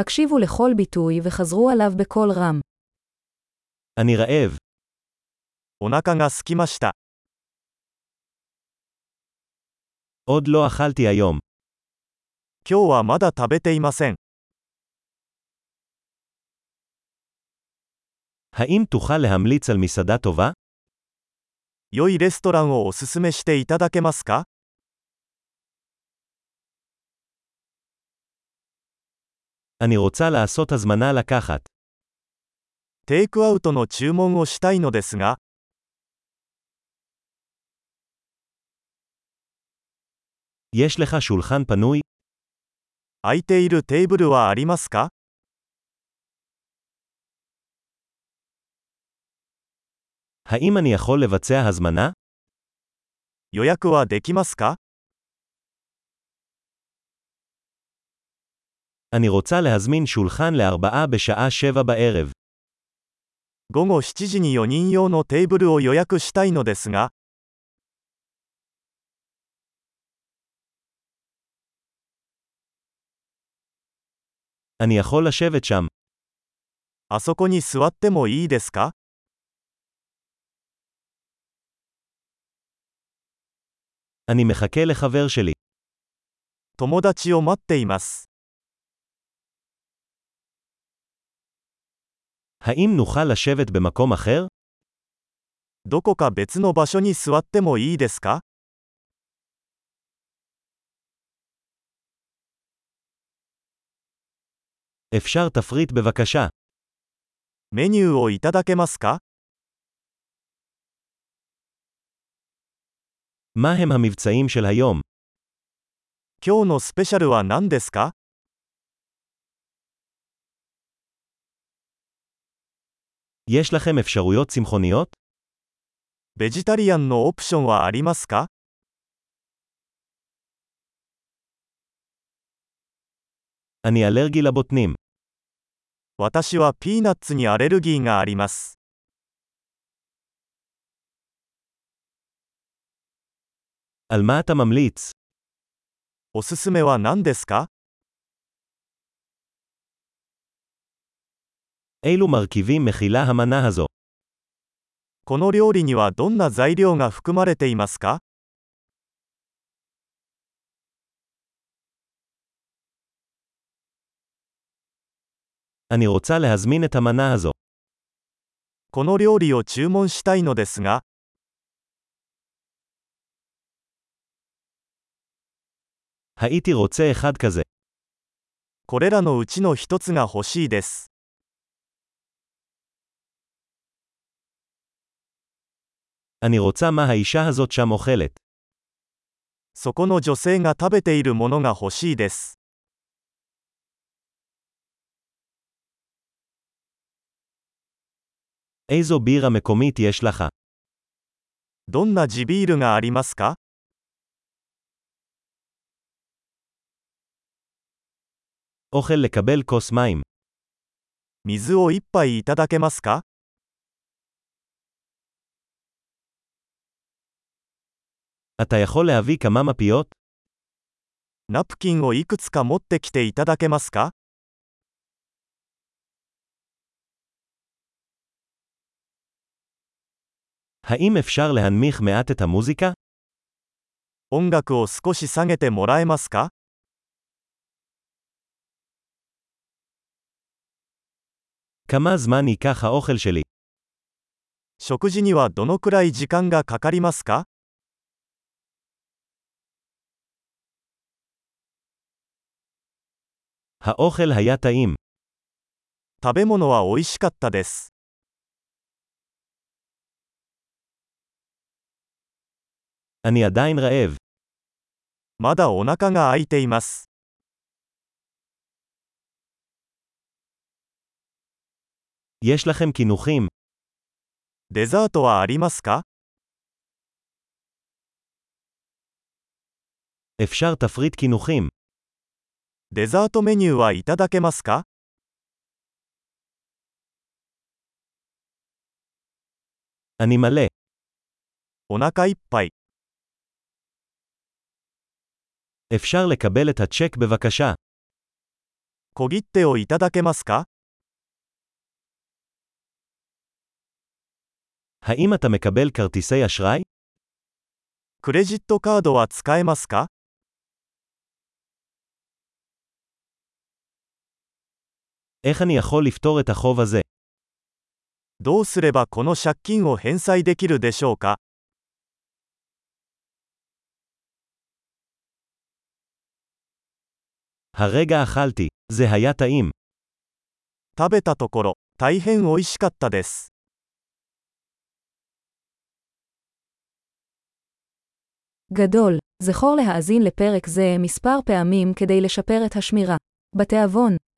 הקשיבו לכל ביטוי וחזרו עליו בקול רם. אני רעב. お腹が空きました。 עוד לא אכלתי היום. 今日はまだ食べていません。 האם תוכל להמליץ על מסעדה טובה? 良いレストランをおすすめしていただけますか אני רוצה לעשות הזמנה לקחת. テイクアウトの注文をしたいのですが、 יש לך שולחן פנוי? 空いているテーブルはありますか האם אני יכול לבצע הזמנה? 予約はできますか אני רוצה להזמין שולחן לארבעה בשעה שבע בערב. 午後7時に4人用のテーブルを予約したいのですが、 אני יכול לשבת שם. あそこに座ってもいいですか אני מחכה לחבר שלי. 友達を待っています。 האם נוכל לשבת במקום אחר? どこか別の場所に座ってもいいですか אפשר תפריט בבקשה. メニューをいただけますか מה הם המבצעים של היום? 今日のスペシャルは何ですか יש לכם אפשרויות צמחוניות? ベジタリアンのオプションはありますか אני אלרגי לבוטנים. 私はピーナッツにアレルギーがあります。 על מה אתה ממליץ? おすすめは何ですか אילו מרכיבים מכילה המנה הזו? この料理にはどんな材料が含まれていますか אני רוצה להזמין את המנה הזו. この料理を注文したいのですが、 הייתי רוצה אחד כזה. これらのうちの一つが欲しいです。 אני רוצה מה האישה הזאת שם אוכלת. そこの女性が食べているものが欲しいです。 איזו בירה מקומית יש לך? どんな地ビールがありますか אוכל לקבל כוס מים. 水を一杯いただけますか אתה יכול להביא כמה מפיות? ナプキンをいくつか持ってきていただけますか האם אפשר להנמיך מעט את המוזיקה? 音楽を少し下げてもらえますか כמה זמן ייקח האוכל שלי? 食事にはどのくらい時間がかかりますか האוכל היה טעים. 食べ物は美味しかったです。 אני עדיין רעב. まだお腹が空いています。 יש לכם קינוחים? デザートはありますか אפשר תפריט קינוחים. デザートメニューはいただけますか אני מלא. お腹いっぱい。 אפשר לקבל את הצ'ק בבקשה. 小切手をいただけますか האם אתה מקבל כרטיסי אשראי? クレジットカードは使えますか איך אני יכול לפתור את החוב הזה? どうすればこの借金を返済できるでしょうか הרגע אכלתי. זה היה טעים. 食べたところ、大変美味しかったです。 גדול. זכור להאזין לפרק זה מספר פעמים כדי לשפר את השמירה. בתיאבון